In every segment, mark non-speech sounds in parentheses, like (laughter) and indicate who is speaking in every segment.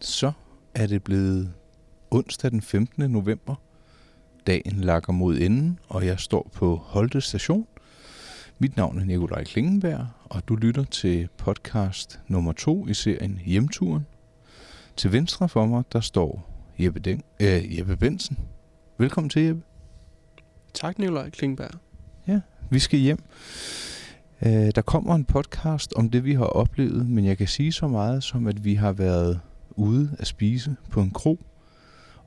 Speaker 1: Så er det blevet onsdag den 15. november. Dagen lakker mod enden, og jeg står på Holte Station. Mit navn er Nikolaj Klingenberg, og du lytter til podcast nummer to i serien Hjemturen. Til venstre for mig, der står Jeppe, Den, øh, Jeppe Bensen. Velkommen til, Jeppe.
Speaker 2: Tak, Nikolaj Klingberg.
Speaker 1: Vi skal hjem. Øh, der kommer en podcast om det, vi har oplevet, men jeg kan sige så meget som, at vi har været ude at spise på en kro,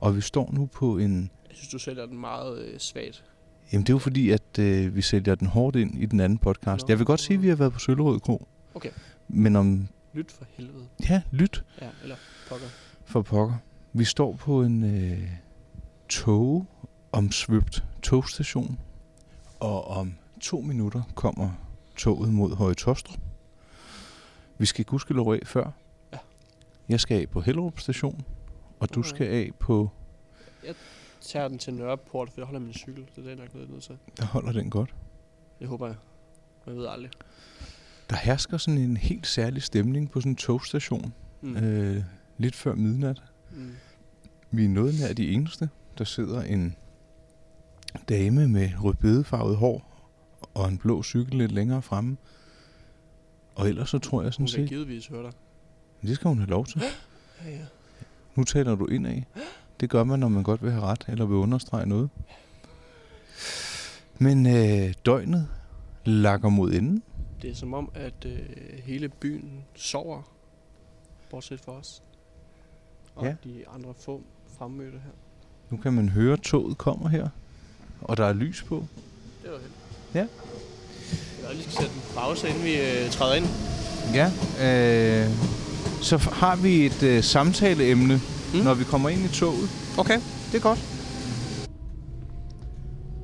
Speaker 1: og vi står nu på en...
Speaker 2: Jeg synes, du sælger den meget øh, svagt.
Speaker 1: Jamen det er jo fordi, at øh, vi sælger den hårdt ind i den anden podcast.
Speaker 2: Nå.
Speaker 1: Jeg vil godt sige, at vi har været på Søllerød Kro.
Speaker 2: Okay.
Speaker 1: Men om...
Speaker 2: Lyt for helvede.
Speaker 1: Ja, lyt
Speaker 2: Ja, eller pokker.
Speaker 1: for pokker. Vi står på en øh, togomsvøbt togstation, og om to minutter kommer toget mod Høje Tostrup. Vi skal gudskelov af før.
Speaker 2: Ja.
Speaker 1: Jeg skal af på Hellerup station, og du
Speaker 2: Okay.
Speaker 1: skal af på...
Speaker 2: Tager den til Nørreport, for jeg holder min cykel. Det er det, jeg nok nødt til.
Speaker 1: Der holder den godt.
Speaker 2: Det håber jeg. Man ved aldrig.
Speaker 1: Der hersker sådan en helt særlig stemning på sådan en togstation,
Speaker 2: Mm.
Speaker 1: mm. øh, lidt før midnat.
Speaker 2: Mm.
Speaker 1: Vi er noget nær de eneste. Der sidder en dame med rødbedefarvet hår og en blå cykel lidt længere fremme. Og ellers så tror jeg sådan
Speaker 2: Hun kan
Speaker 1: set,
Speaker 2: givetvis høre dig.
Speaker 1: det skal hun have lov til.
Speaker 2: Ja, ja.
Speaker 1: Nu taler du ind af. Det gør man, når man godt vil have ret eller vil understrege noget. Men øh, døgnet lakker mod enden.
Speaker 2: Det er som om, at øh, hele byen sover. Bortset fra os. Og
Speaker 1: Ja.
Speaker 2: de andre få fremmødte her.
Speaker 1: Nu kan man høre, at toget kommer her, og der er lys på.
Speaker 2: Det var helt.
Speaker 1: Ja.
Speaker 2: Jeg lige skal sætte en pause, inden vi øh, træder ind.
Speaker 1: Ja, øh, så f- har vi et øh, samtaleemne, mm. når vi kommer ind i toget.
Speaker 2: Okay.
Speaker 1: Det er godt.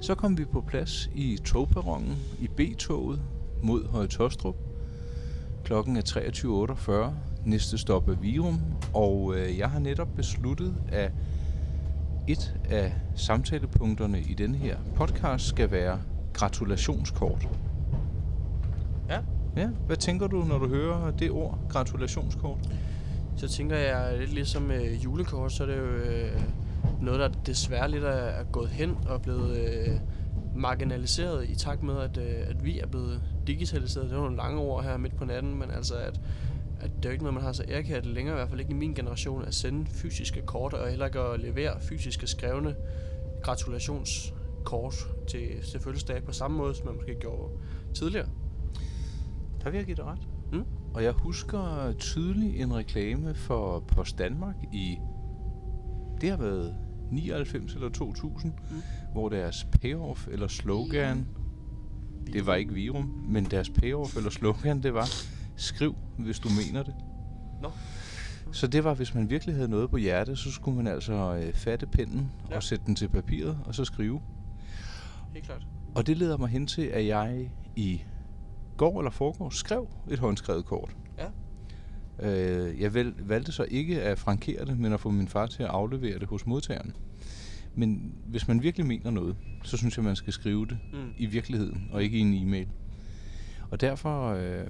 Speaker 1: Så kom vi på plads i togperronen i B-toget mod Høje Tostrup. Klokken er 23.48. Næste stop er Virum, og øh, jeg har netop besluttet, at et af samtalepunkterne i den her podcast skal være gratulationskort.
Speaker 2: Ja.
Speaker 1: Ja, hvad tænker du, når du hører det ord, gratulationskort?
Speaker 2: Så tænker jeg lidt ligesom øh, julekort, så er det jo øh, noget, der desværre lidt er, er gået hen og er blevet øh, marginaliseret i takt med, at, øh, at vi er blevet digitaliseret. Det er nogle lange ord her midt på natten, men altså at, at det er jo ikke noget, man har så ærekært længere, i hvert fald ikke i min generation, at sende fysiske kort og heller ikke at levere fysiske skrevne gratulationskort til, til fødselsdag på samme måde, som man måske gjorde tidligere.
Speaker 1: Der vil jeg give dig ret.
Speaker 2: Mm.
Speaker 1: Og jeg husker tydeligt en reklame for Post Danmark i, det har været 99 eller 2000, mm. hvor deres payoff eller slogan, det var ikke Virum, men deres payoff eller slogan, det var, skriv, hvis du mener det.
Speaker 2: Nå.
Speaker 1: Så det var, hvis man virkelig havde noget på hjerte, så skulle man altså øh, fatte pinden ja.
Speaker 2: Ja.
Speaker 1: og sætte den til papiret, og så skrive.
Speaker 2: Helt klart.
Speaker 1: Og det leder mig hen til, at jeg i går eller forgår skrev et håndskrevet kort.
Speaker 2: Ja.
Speaker 1: Øh, jeg vel, valgte så ikke at frankere det, men at få min far til at aflevere det hos modtageren. Men hvis man virkelig mener noget, så synes jeg, man skal skrive det
Speaker 2: Mm.
Speaker 1: i virkeligheden, og ikke i en e-mail. Og derfor øh,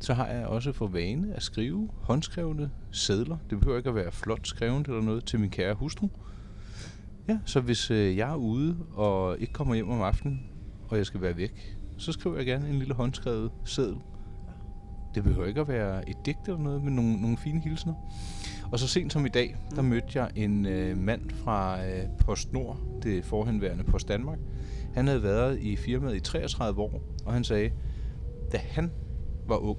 Speaker 1: så har jeg også for vane at skrive håndskrevne sædler. Det behøver ikke at være flot skrevet eller noget til min kære hustru. Ja, så hvis øh, jeg er ude og ikke kommer hjem om aftenen, og jeg skal være væk, så skriver jeg gerne en lille håndskrevet seddel. Det behøver ikke at være et digt eller noget, men nogle, nogle fine hilsner. Og så sent som i dag, der mødte jeg en øh, mand fra øh, PostNord, det forhenværende Post Danmark. Han havde været i firmaet i 33 år, og han sagde, da han var ung,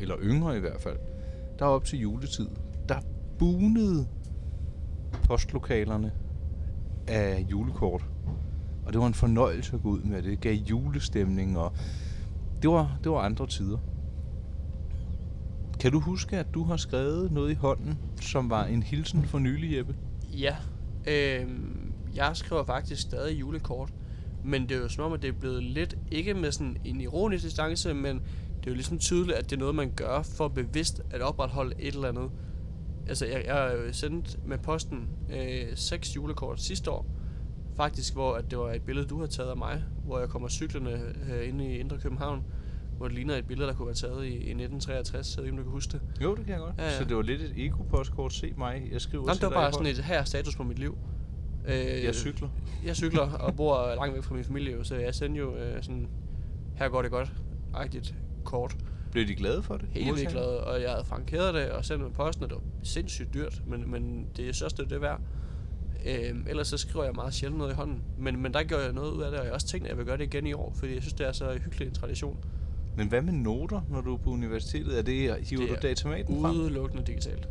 Speaker 1: eller yngre i hvert fald, der op til juletid, der bunede postlokalerne af julekort. Og det var en fornøjelse at gå ud med det. Det gav julestemning, og det var, det var andre tider. Kan du huske, at du har skrevet noget i hånden, som var en hilsen for nylig, Jeppe?
Speaker 2: Ja, øh, jeg skriver faktisk stadig julekort, men det er jo som om, at det er blevet lidt, ikke med sådan en ironisk distance, men det er jo ligesom tydeligt, at det er noget, man gør for bevidst at opretholde et eller andet. Altså, jeg, jeg har jo sendt med posten øh, seks julekort sidste år, faktisk, hvor at det var et billede, du har taget af mig, hvor jeg kommer cyklerne øh, inde i Indre København, hvor det ligner et billede, der kunne være taget i, i 1963. Jeg ved ikke, om du kan huske det.
Speaker 1: Jo, det kan jeg godt.
Speaker 2: Ja, ja.
Speaker 1: Så det var lidt et ego-postkort. Se mig, jeg skriver
Speaker 2: Nå,
Speaker 1: til
Speaker 2: det var
Speaker 1: dig,
Speaker 2: bare
Speaker 1: jeg
Speaker 2: sådan
Speaker 1: holder-
Speaker 2: et, her er status på mit liv. Øh,
Speaker 1: Jeg cykler.
Speaker 2: jeg cykler og bor langt væk fra min familie, jo, så jeg sendte jo øh, sådan, her går det godt, agtigt kort.
Speaker 1: Blev de glade for det?
Speaker 2: Helt vildt
Speaker 1: Modtagerne?
Speaker 2: glad, og jeg havde frankeret det og sendt med posten, og det var sindssygt dyrt, men, men det er så det, det er værd. Øhm, ellers så skriver jeg meget sjældent noget i hånden. Men, men der gjorde jeg noget ud af det, og jeg har også tænkt, at jeg vil gøre det igen i år, fordi jeg synes, det er så hyggelig en tradition.
Speaker 1: Men hvad med noter, når du er på universitetet? Er det, hiver
Speaker 2: Det
Speaker 1: du
Speaker 2: er
Speaker 1: datamaten frem?
Speaker 2: Udelukkende digitalt.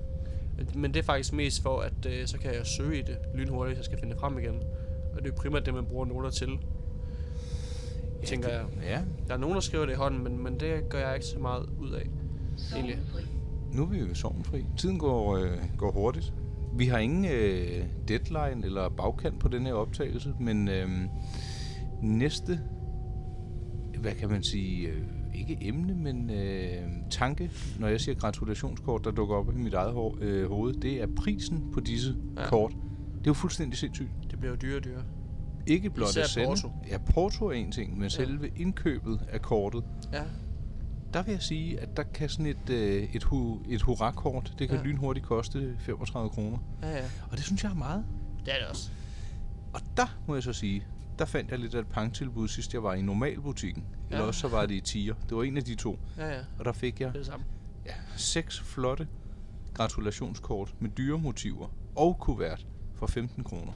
Speaker 2: Men det er faktisk mest for, at øh, så kan jeg søge i det lynhurtigt, hvis jeg skal finde det frem igen. Og det er jo primært det, man bruger noter til,
Speaker 1: Ja,
Speaker 2: tænker
Speaker 1: det-
Speaker 2: jeg.
Speaker 1: Ja.
Speaker 2: Der er nogen, der skriver det i hånden, men, men det gør jeg ikke så meget ud af. Egentlig.
Speaker 1: Nu er vi jo sovnfri. Tiden går, øh, går hurtigt. Vi har ingen øh, deadline eller bagkant på den her optagelse, men øh, næste, hvad kan man sige, øh, ikke emne, men øh, tanke, når jeg siger gratulationskort, der dukker op i mit eget ho- øh, hoved, det er prisen på disse
Speaker 2: Ja.
Speaker 1: ja. kort. Det er jo fuldstændig sindssygt.
Speaker 2: Det bliver jo dyrere og dyrere.
Speaker 1: Ikke blot
Speaker 2: Især
Speaker 1: at sende.
Speaker 2: porto.
Speaker 1: Ja, porto er en ting, men ja. selve indkøbet af kortet,
Speaker 2: Ja,
Speaker 1: der vil jeg sige, at der kan sådan et, øh, et, hu, et hurra-kort, det kan
Speaker 2: Ja.
Speaker 1: ja. lynhurtigt koste 35 kroner.
Speaker 2: ja, ja.
Speaker 1: Og det synes jeg er meget.
Speaker 2: Det er det også.
Speaker 1: Og der må jeg så sige, der fandt jeg lidt af et pangtilbud, sidst jeg var i normalbutikken. Ja. Eller
Speaker 2: Ja.
Speaker 1: også så var det i tier. Det var en af de to.
Speaker 2: Ja, ja.
Speaker 1: Og der fik jeg
Speaker 2: Det er det samme.
Speaker 1: ja, seks flotte gratulationskort med dyre motiver og kuvert for 15 kroner.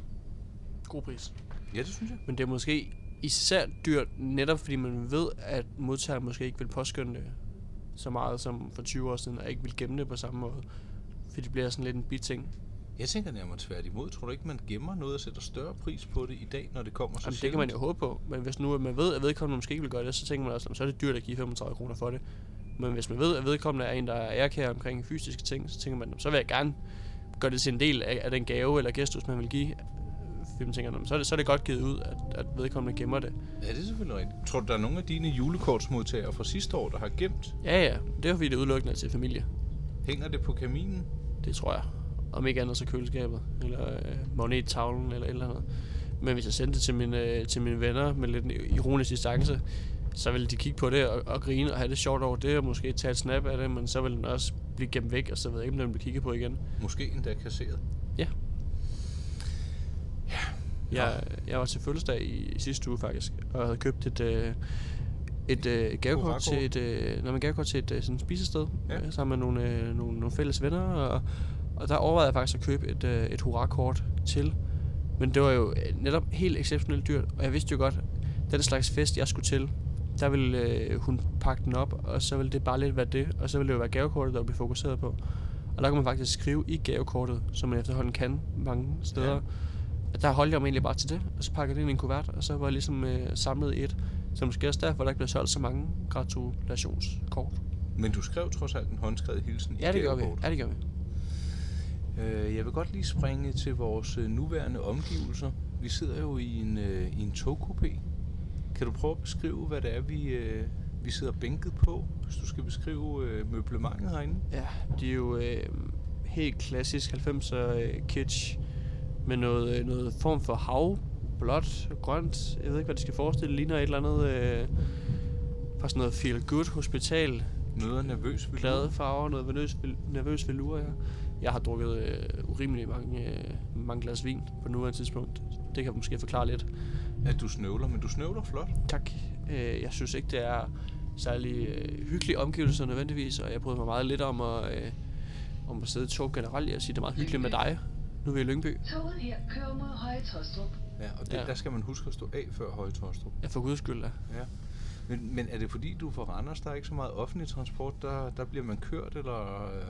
Speaker 2: God pris.
Speaker 1: Ja, det synes jeg.
Speaker 2: Men det er måske især dyrt, netop fordi man ved, at modtageren måske ikke vil påskynde det så meget som for 20 år siden, og ikke vil gemme det på samme måde. Fordi det bliver sådan lidt en biting.
Speaker 1: Jeg tænker nærmere tværtimod. Tror du ikke, man gemmer noget og sætter større pris på det i dag, når det kommer så
Speaker 2: Jamen, det
Speaker 1: sjældent?
Speaker 2: kan man jo håbe på, men hvis nu at man ved, at vedkommende måske ikke vil gøre det, så tænker man også, "Nå, så er det dyrt at give 35 kroner for det. Men hvis man ved, at vedkommende er en, der er ærekær omkring fysiske ting, så tænker man, "Nå, så vil jeg gerne gøre det til en del af, af den gave eller gestus, man vil give. Fordi man tænker, "Nå, men så er det, så er det godt givet ud, at, at vedkommende gemmer det.
Speaker 1: Ja, det er selvfølgelig rigtigt. Tror du, der er nogle af dine julekortsmodtagere fra sidste år, der har gemt?
Speaker 2: Ja, ja, det er jo fordi, det udelukkende er til familie.
Speaker 1: Hænger det på kaminen?
Speaker 2: Det tror jeg. Om ikke andet så køleskabet, eller øh, magnettavlen, eller et eller andet. Men hvis jeg sendte det til mine, øh, til mine venner med lidt en ironisk distance, så ville de kigge på det og, og grine og have det sjovt over det, og måske tage et snap af det, men så ville den også blive gemt væk, og så ved jeg ikke, om den bliver kigget på igen.
Speaker 1: Måske endda kasseret.
Speaker 2: Ja. Jeg, jeg var til fødselsdag i, i sidste uge faktisk, og havde købt et, øh, et øh, gavekort
Speaker 1: Hurra-kort.
Speaker 2: til et, øh, når man gavekort til et øh, sådan spisested,
Speaker 1: Ja.
Speaker 2: ja. sammen med nogle, øh, nogle, nogle fælles venner, og, og der overvejede jeg faktisk at købe et, øh, et hurra-kort til. Men det var jo øh, netop helt exceptionelt dyrt, og jeg vidste jo godt, den slags fest, jeg skulle til, der ville øh, hun pakke den op, og så ville det bare lidt være det, og så ville det jo være gavekortet, der blev fokuseret på. Og der kan man faktisk skrive i gavekortet, som man efterhånden kan mange steder.
Speaker 1: Ja.
Speaker 2: Ja. Og der holdt jeg mig egentlig bare til det, og så pakkede jeg det ind i en kuvert, og så var jeg ligesom øh, samlet i et. Så måske også derfor, der ikke blev solgt så mange gratulationskort.
Speaker 1: Men du skrev trods alt en håndskrevet hilsen
Speaker 2: Ja,
Speaker 1: i
Speaker 2: det gør vi.
Speaker 1: gavekortet.
Speaker 2: Ja, det gør vi.
Speaker 1: Øh, jeg vil godt lige springe til vores øh, nuværende omgivelser. Vi sidder jo i en, øh, i en togkupé. Kan du prøve at beskrive, hvad det er, vi, øh, vi sidder bænket på? Hvis du skal beskrive øh, møblementet herinde.
Speaker 2: Ja, de er jo øh, helt klassisk 90'er øh, kitsch med noget, øh, noget form for hav, blåt, grønt. Jeg ved ikke, hvad det skal forestille. Det ligner et eller andet øh, fra sådan noget feel good hospital.
Speaker 1: Møder nervøs ved
Speaker 2: Glade farver, noget nervøs, nervøs velure, ja. Jeg har drukket øh, urimelig mange, øh, mange glas vin på nuværende tidspunkt. Det kan måske forklare lidt.
Speaker 1: at du snøvler, men du snøvler flot.
Speaker 2: Tak. Øh, jeg synes ikke, det er særlig øh, hyggelige omgivelser nødvendigvis, og jeg bryder mig meget lidt om at, øh, om at sidde i tog generelt. Jeg siger, det er meget hyggeligt med dig. Nu er vi i Lyngby.
Speaker 3: Toget her kører mod Høje Tostrup.
Speaker 1: Ja, og det,
Speaker 2: Ja.
Speaker 1: ja. der skal man huske at stå af før Højtostrup.
Speaker 2: Ja, for guds skyld da.
Speaker 1: Ja. Men, men er det fordi, du er fra Randers, der er ikke så meget offentlig transport, der, der bliver man kørt, eller øh,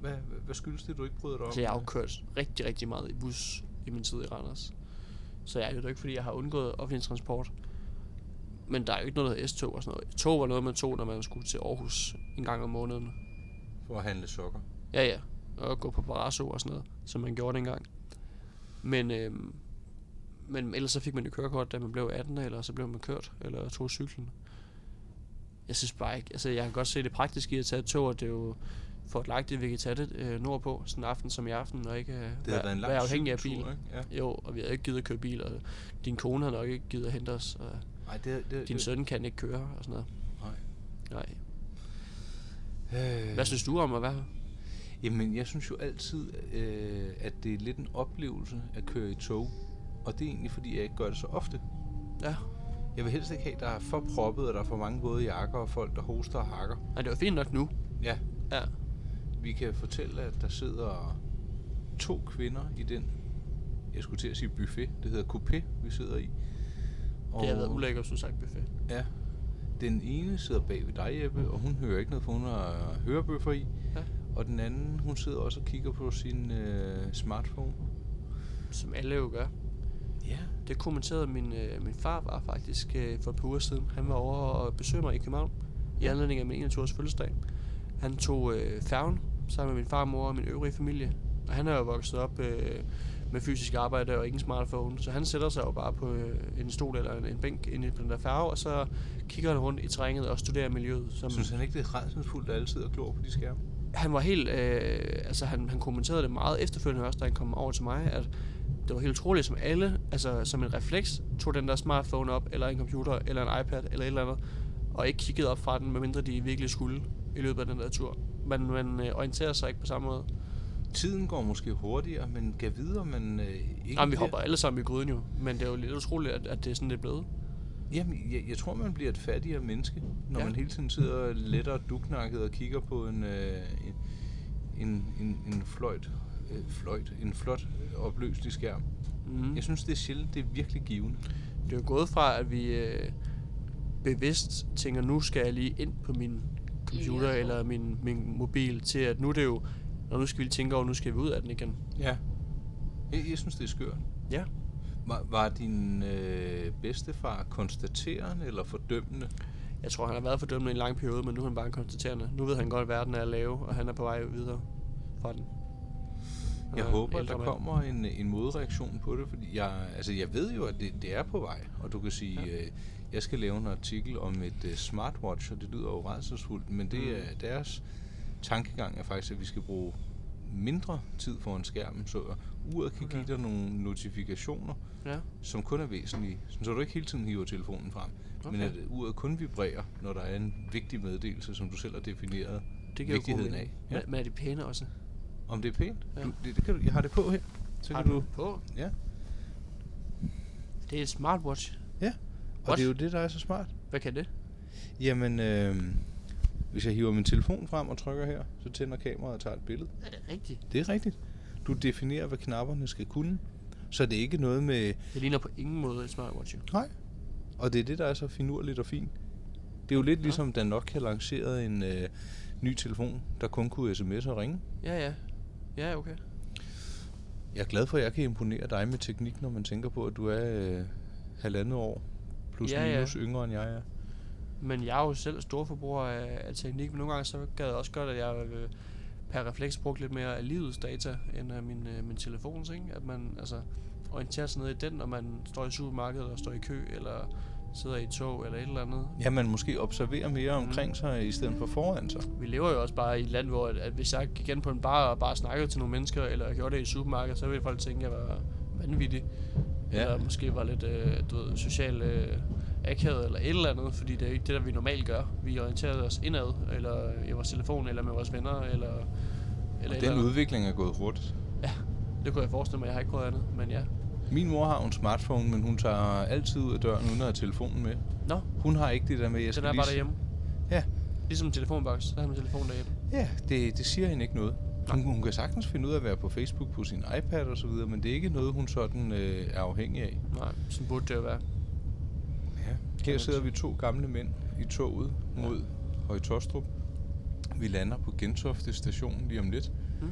Speaker 1: hvad, hvad skyldes det, du ikke bryder dig om? øh,
Speaker 2: Altså, jeg har jo kørt rigtig, rigtig meget i bus i min tid i Randers. Så jeg det er jo ikke, fordi jeg har undgået offentlig transport. Men der er jo ikke noget, der hedder S-tog og sådan noget. Tog var noget, man tog, når man skulle til Aarhus en gang om måneden.
Speaker 1: For at handle sokker.
Speaker 2: Ja, ja. Og gå på Barasso og sådan noget, som man gjorde dengang. Men, øhm, men ellers så fik man jo kørekort, da man blev 18, eller så blev man kørt, eller tog cyklen. Jeg synes bare ikke, altså jeg kan godt se det praktiske i at tage et tog, og det er jo fordelagtigt, vi kan tage det øh, nordpå, sådan en aften som i aften, og ikke øh,
Speaker 1: Det har været en lang
Speaker 2: være afhængig af
Speaker 1: cykeltur,
Speaker 2: bil.
Speaker 1: ikke? Ja.
Speaker 2: Jo, og vi havde ikke givet at køre bil, og din kone har nok ikke givet at hente os, og
Speaker 1: Ej, det, det,
Speaker 2: din
Speaker 1: det,
Speaker 2: søn kan ikke køre, og sådan noget.
Speaker 1: Nej.
Speaker 2: Nej.
Speaker 1: Øh,
Speaker 2: Hvad synes du om at være her?
Speaker 1: Jamen, jeg synes jo altid, øh, at det er lidt en oplevelse at køre i tog. Og det er egentlig, fordi jeg ikke gør det så ofte.
Speaker 2: Ja.
Speaker 1: Jeg vil helst ikke have, at der er for proppet, og der er for mange våde jakker, og folk, der hoster og hakker.
Speaker 2: Nej, det var fint nok nu.
Speaker 1: Ja,
Speaker 2: Ja.
Speaker 1: vi kan fortælle, at der sidder to kvinder i den, jeg skulle til at sige buffet, det hedder coupé, vi sidder i.
Speaker 2: Det har været ulækkert, som sagt, buffet.
Speaker 1: Ja. Den ene sidder bag ved dig, Jeppe, og hun hører ikke noget, for hun har hørebøffer i.
Speaker 2: Ja.
Speaker 1: Og den anden, hun sidder også og kigger på sin øh, smartphone.
Speaker 2: Som alle jo gør.
Speaker 1: Ja.
Speaker 2: Det kommenterede min, øh, min far var faktisk øh, for et par uger siden. Han var over og besøgte mig i København i anledning af min 21-års fødselsdag. Han tog øh, færgen sammen med min far, mor og min øvrige familie. Og han er jo vokset op øh, med fysisk arbejde og ingen smartphone, så han sætter sig jo bare på øh, en stol eller en, en bænk inde på den der færge, og så kigger han rundt i terrænet og studerer miljøet. Som,
Speaker 1: Synes han ikke, det er redselsfuldt, at alle sidder og glor på de skærme?
Speaker 2: han var helt, øh, altså han, han kommenterede det meget efterfølgende også, da han kom over til mig, at det var helt utroligt, som alle, altså som en refleks, tog den der smartphone op, eller en computer, eller en iPad, eller et eller andet, og ikke kiggede op fra den, medmindre de virkelig skulle i løbet af den der tur. Men man øh, orienterer sig ikke på samme måde.
Speaker 1: Tiden går måske hurtigere, men gav videre, men øh, ikke...
Speaker 2: Jamen, vi
Speaker 1: bliver-
Speaker 2: hopper alle sammen i gryden jo, men det er jo lidt utroligt, at, at det er sådan, det er blevet.
Speaker 1: Jamen, jeg, jeg tror, man bliver et fattigere menneske, når
Speaker 2: Ja.
Speaker 1: ja. man hele tiden sidder lettere duknakket og kigger på en, øh, en, en, en, en fløjt, øh, fløjt, en flot øh, opløselig skærm.
Speaker 2: Mm.
Speaker 1: Jeg synes, det er sjældent, det er virkelig givende.
Speaker 2: Det er jo gået fra, at vi øh, bevidst tænker, nu skal jeg lige ind på min computer
Speaker 3: Ja.
Speaker 2: eller min, min mobil, til at nu er det jo, og nu skal vi lige tænke over, nu skal vi ud af den igen.
Speaker 1: Ja. Jeg, jeg synes, det er skørt.
Speaker 2: Ja.
Speaker 1: Var, var din øh, bedstefar konstaterende eller fordømmende?
Speaker 2: Jeg tror, han har været fordømmende i en lang periode, men nu er han bare en konstaterende. Nu ved han godt, at verden er at lave, og han er på vej videre fra den. Han
Speaker 1: Jeg
Speaker 2: er en
Speaker 1: håber, at
Speaker 2: ældre
Speaker 1: der
Speaker 2: mand.
Speaker 1: kommer en, en modreaktion på det, fordi jeg, altså jeg ved jo, at det, det er på vej. Og du kan sige, ja. øh, jeg skal lave en artikel om et øh, smartwatch, og det lyder jo redselsfuldt, men det
Speaker 2: Mm.
Speaker 1: er deres tankegang er faktisk, at vi skal bruge mindre tid foran skærmen, så uret kan
Speaker 2: Okay.
Speaker 1: give dig nogle notifikationer,
Speaker 2: Ja.
Speaker 1: som kun er væsentlige, sådan så du ikke hele tiden hiver telefonen frem, okay. men
Speaker 2: Okay.
Speaker 1: at øh, uret kun vibrerer, når der er en vigtig meddelelse, som du selv har defineret
Speaker 2: Det giver jo god
Speaker 1: vigtigheden
Speaker 2: mening.
Speaker 1: af.
Speaker 2: Ja. Men, men er de pæne også?
Speaker 1: Om det er pænt?
Speaker 2: Ja.
Speaker 1: Ja. Du, det, det kan du, jeg har det på her. Så
Speaker 2: Har
Speaker 1: kan
Speaker 2: du
Speaker 1: du,
Speaker 2: det på?
Speaker 1: Ja.
Speaker 2: Det er et smartwatch.
Speaker 1: Ja. Og
Speaker 2: What?
Speaker 1: det er jo det, der er så smart.
Speaker 2: Hvad kan det?
Speaker 1: Jamen, øh, hvis jeg hiver min telefon frem og trykker her, så tænder kameraet og tager et billede.
Speaker 2: Er det rigtigt?
Speaker 1: Det er rigtigt. Du definerer, hvad knapperne skal kunne. Så det er ikke noget med,
Speaker 2: Det ligner på ingen måde et smartwatch. jo.
Speaker 1: nej. Og det er det, der er så finurligt og fint. Det er jo lidt
Speaker 2: Ja.
Speaker 1: ligesom, da Nokia lancerede en øh, ny telefon, der kun kunne sms og ringe.
Speaker 2: Ja, ja. Ja, okay.
Speaker 1: Jeg er glad for, at jeg kan imponere dig med teknik, når man tænker på, at du er øh, halvandet år plus
Speaker 2: Ja, ja.
Speaker 1: minus yngre end jeg er.
Speaker 2: Men jeg er jo selv storforbruger af, af teknik, men nogle gange så gad jeg også godt, at jeg øh, per refleks brugte lidt mere af livets data, end af min, øh, min telefons, ikke? At man altså, orienterer sig ned i den, når man står i supermarkedet, og står i kø, eller sidder i et tog, eller et eller andet.
Speaker 1: Ja, man måske observerer mere
Speaker 2: Mm.
Speaker 1: omkring sig, i stedet for foran sig.
Speaker 2: Vi lever jo også bare i et land, hvor at, at hvis jeg gik ind på en bar og bare snakkede til nogle mennesker, eller gjorde det i supermarkedet, så ville folk tænke, at jeg var vanvittig. Ja.
Speaker 1: Ja.
Speaker 2: Eller måske var lidt øh, du ved, social øh, akavet eller et eller andet, fordi det er jo ikke det, der vi normalt gør. Vi orienterer os indad, eller i vores telefon, eller med vores venner, eller... eller et
Speaker 1: Og
Speaker 2: eller
Speaker 1: den
Speaker 2: andet.
Speaker 1: udvikling er gået hurtigt.
Speaker 2: Ja, det kunne jeg forestille mig, jeg har ikke prøvet andet, men ja.
Speaker 1: Min mor har jo en smartphone, men hun tager altid ud af døren uden at have telefonen med.
Speaker 2: Nå,
Speaker 1: Hun har ikke det der med, jeg skal
Speaker 2: den er
Speaker 1: lige...
Speaker 2: bare
Speaker 1: se-
Speaker 2: derhjemme.
Speaker 1: Ja,
Speaker 2: Ligesom en telefonboks, så har man telefonen derhjemme.
Speaker 1: ja det, det siger hende ikke noget. Hun, hun kan sagtens finde ud af at være på Facebook på sin iPad og så videre, men det er ikke noget, hun sådan øh, er afhængig af.
Speaker 2: Nej, sådan burde det jo være.
Speaker 1: Ja. Her sidder vi to gamle mænd i toget mod Høje Tostrup. Vi lander på Gentofte station lige om lidt.
Speaker 2: Mm.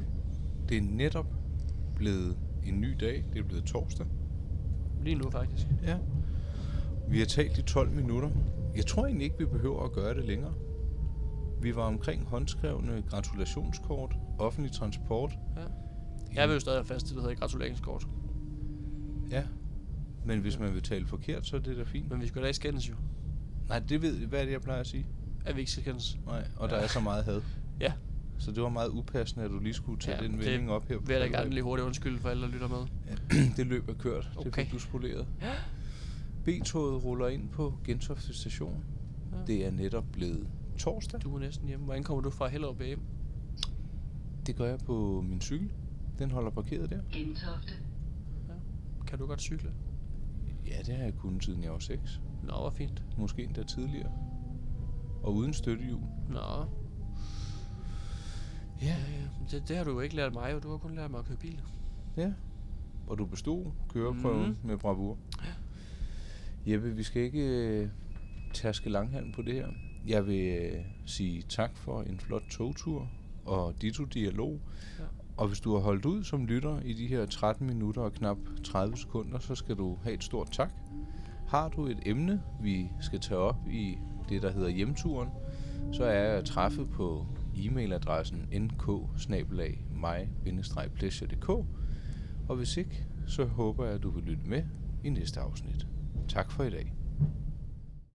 Speaker 1: Det er netop blevet en ny dag. Det er blevet torsdag.
Speaker 2: Lige nu faktisk.
Speaker 1: Ja. Vi har talt i 12 minutter. Jeg tror egentlig ikke, vi behøver at gøre det længere. Vi var omkring håndskrevne gratulationskort, offentlig transport.
Speaker 2: Ja. Jeg vil jo stadig have fast til, det hedder gratulationskort.
Speaker 1: Ja. Men hvis man vil tale forkert, så er det da fint.
Speaker 2: Men vi skal da ikke skændes jo.
Speaker 1: Nej, det ved Hvad er det, jeg plejer at sige?
Speaker 2: At vi ikke skal skændes.
Speaker 1: Nej, og der
Speaker 2: Ja.
Speaker 1: er så meget had.
Speaker 2: Ja.
Speaker 1: Så det var meget upassende, at du lige skulle tage den vending op her. på
Speaker 2: vil jeg da
Speaker 1: falderebet.
Speaker 2: gerne lige hurtigt undskylde for alle, der lytter med.
Speaker 1: (clears throat) det løb er kørt. Det
Speaker 2: Okay.
Speaker 1: fik du spoleret. B-toget ruller ind på Gentofte station.
Speaker 2: Ja.
Speaker 1: Det er netop blevet torsdag.
Speaker 2: Du er næsten hjemme. Hvordan kommer du fra Hellerup af hjem?
Speaker 1: Det gør jeg på min cykel. Den holder parkeret der.
Speaker 3: Gentofte,
Speaker 2: Kan du godt cykle?
Speaker 1: Ja, det har jeg kunnet siden jeg var 6.
Speaker 2: Nå, hvor fint.
Speaker 1: Måske endda tidligere. Og uden støttehjul.
Speaker 2: Nå. Ja, ja. Det, det har du jo ikke lært mig, jo. Du har kun lært mig at køre bil.
Speaker 1: Ja. Og du bestod køreprøven mm. med bravur. Jeppe, vi skal ikke øh, tærske langhalm på det her. Jeg vil øh, sige tak for en flot togtur og ditto dialog.
Speaker 2: Ja.
Speaker 1: Ja. Og hvis du har holdt ud som lytter i de her 13 minutter og knap 30 sekunder, så skal du have et stort tak. Har du et emne, vi skal tage op i det, der hedder hjemturen, så er jeg at træffe på e-mailadressen nk mig og hvis ikke, så håber jeg, at du vil lytte med i næste afsnit. Tak for i dag.